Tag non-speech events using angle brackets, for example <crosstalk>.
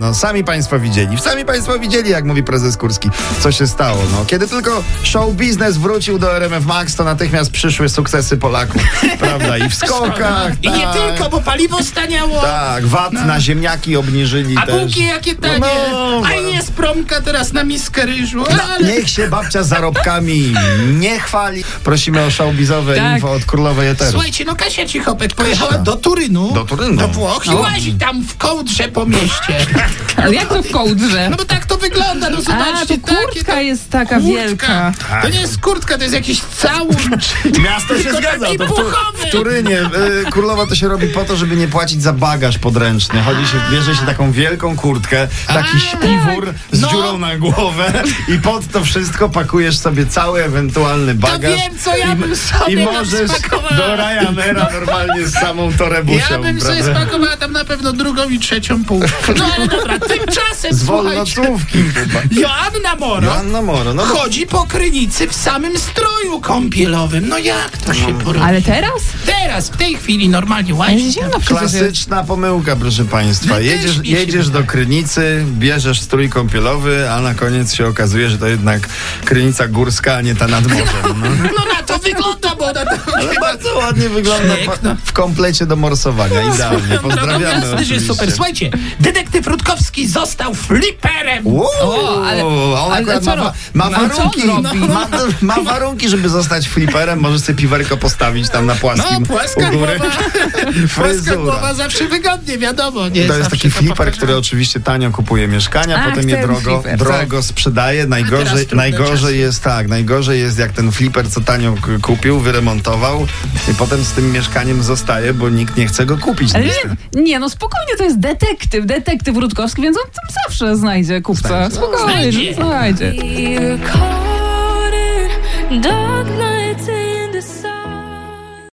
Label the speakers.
Speaker 1: No sami państwo widzieli, sami państwo widzieli, jak mówi prezes Kurski, co się stało. No, kiedy tylko show biznes wrócił do RMF Max, to natychmiast przyszły sukcesy Polaków, <laughs> prawda? I w skokach,
Speaker 2: I nie
Speaker 1: tak,
Speaker 2: tylko, bo paliwo staniało.
Speaker 1: Tak, VAT na ziemniaki obniżyli
Speaker 2: A
Speaker 1: też.
Speaker 2: bułki jakie tanie.
Speaker 1: No,
Speaker 2: A nie jest promka teraz na miskę ryżu. Ale...
Speaker 1: Niech się babcia z zarobkami nie chwali. Prosimy o showbizowe
Speaker 2: Tak.
Speaker 1: info od Królowej Eteru.
Speaker 2: Słuchajcie, no Kasia Cichopek pojechała do Turynu.
Speaker 1: Do Turynu. No.
Speaker 2: Do Włoch i łazi tam w kołdrze po mieście.
Speaker 3: Ale jak to w kołdrze?
Speaker 2: No bo tak to wygląda, no
Speaker 3: A,
Speaker 2: zobaczcie.
Speaker 3: to
Speaker 2: takie to-
Speaker 3: kurtka jest taka
Speaker 2: Kurtka.
Speaker 3: wielka.
Speaker 2: To nie jest kurtka, to jest jakiś całun.
Speaker 1: <laughs> Miasto się
Speaker 2: Tylko
Speaker 1: zgadza.
Speaker 2: taki
Speaker 1: To w, tu,
Speaker 2: puchowy.
Speaker 1: w Turynie y, królowa to się robi po to, żeby nie płacić za bagaż podręczny. Chodzi się, bierze się taką wielką kurtkę, taki śpiwór z
Speaker 2: No.
Speaker 1: dziurą na głowę i pod to wszystko pakujesz sobie cały ewentualny
Speaker 2: To
Speaker 1: bagaż.
Speaker 2: wiem, co ja bym sobie
Speaker 1: I
Speaker 2: tam
Speaker 1: możesz
Speaker 2: spakowała.
Speaker 1: do Ryanaira normalnie z samą torebusią.
Speaker 2: Ja bym sobie
Speaker 1: prawda?
Speaker 2: spakowała tam na pewno drugą i trzecią pół. No
Speaker 1: <laughs>
Speaker 2: ale dobra, tymczasem
Speaker 1: Z
Speaker 2: słuchajcie.
Speaker 1: wolnocówki chyba.
Speaker 2: Joanna Moro
Speaker 1: Joanna Moro, no bo
Speaker 2: chodzi po krynicy w samym stroju kąpielowym. No jak to się porobi?
Speaker 3: Mm. Ale teraz?
Speaker 2: Teraz, w tej chwili normalnie łazić.
Speaker 3: Zimno przecież jest.
Speaker 1: Klasyczna pomyłka, proszę Państwa.
Speaker 2: też
Speaker 1: Jedziesz,
Speaker 2: mi się
Speaker 1: jedziesz do Krynicy, bierzesz strój kąpielowy, a na koniec się okazuje, że to jednak Krynica Górska, a nie ta nad morzem. No.
Speaker 2: No na to wygląda, bo na to
Speaker 1: Ale bardzo ładnie wygląda pa- w komplecie do morsowania. Idealnie. Pozdrawiamy
Speaker 2: No Jasne, że jest super.
Speaker 1: oczywiście.
Speaker 2: Słuchajcie, detektyw Rutkowski został fliperem.
Speaker 1: Wow,
Speaker 3: O, ale-
Speaker 1: on
Speaker 3: ale
Speaker 1: akurat
Speaker 3: co
Speaker 1: ma, wa-
Speaker 3: ro-
Speaker 1: ma
Speaker 3: no, co on
Speaker 1: warunki,
Speaker 3: robi?
Speaker 1: ma, ma warunki, żeby zostać fliperem, możesz sobie piwerko postawić tam na płaskim
Speaker 2: No, płaska
Speaker 1: u góry.
Speaker 2: głowa, płaska
Speaker 1: <laughs> Fryzura.
Speaker 2: głowa zawsze wygodnie, wiadomo. Nie
Speaker 1: To jest
Speaker 2: zawsze tak.
Speaker 1: taki
Speaker 2: to
Speaker 1: fliper,
Speaker 2: poprawi-
Speaker 1: który oczywiście tanio kupuje mieszkania,
Speaker 3: Ach,
Speaker 1: potem je
Speaker 3: ten
Speaker 1: drogo,
Speaker 3: fliper,
Speaker 1: drogo sprzedaje. Najgorzej,
Speaker 2: tak. teraz trudne czasy.
Speaker 1: najgorzej jest tak, najgorzej jest jak ten fliper, co tanio k- kupił, wyremontował i potem z tym mieszkaniem zostaje, bo nikt nie chce go kupić.
Speaker 3: Ale
Speaker 1: niestety.
Speaker 3: nie, nie, no spokojnie, to jest detektyw, detektyw Rutkowski, więc on tam zawsze znajdzie kupca. Spokojnie,
Speaker 2: Znajdzie.
Speaker 3: znajdzie.
Speaker 4: You're caught in darkness.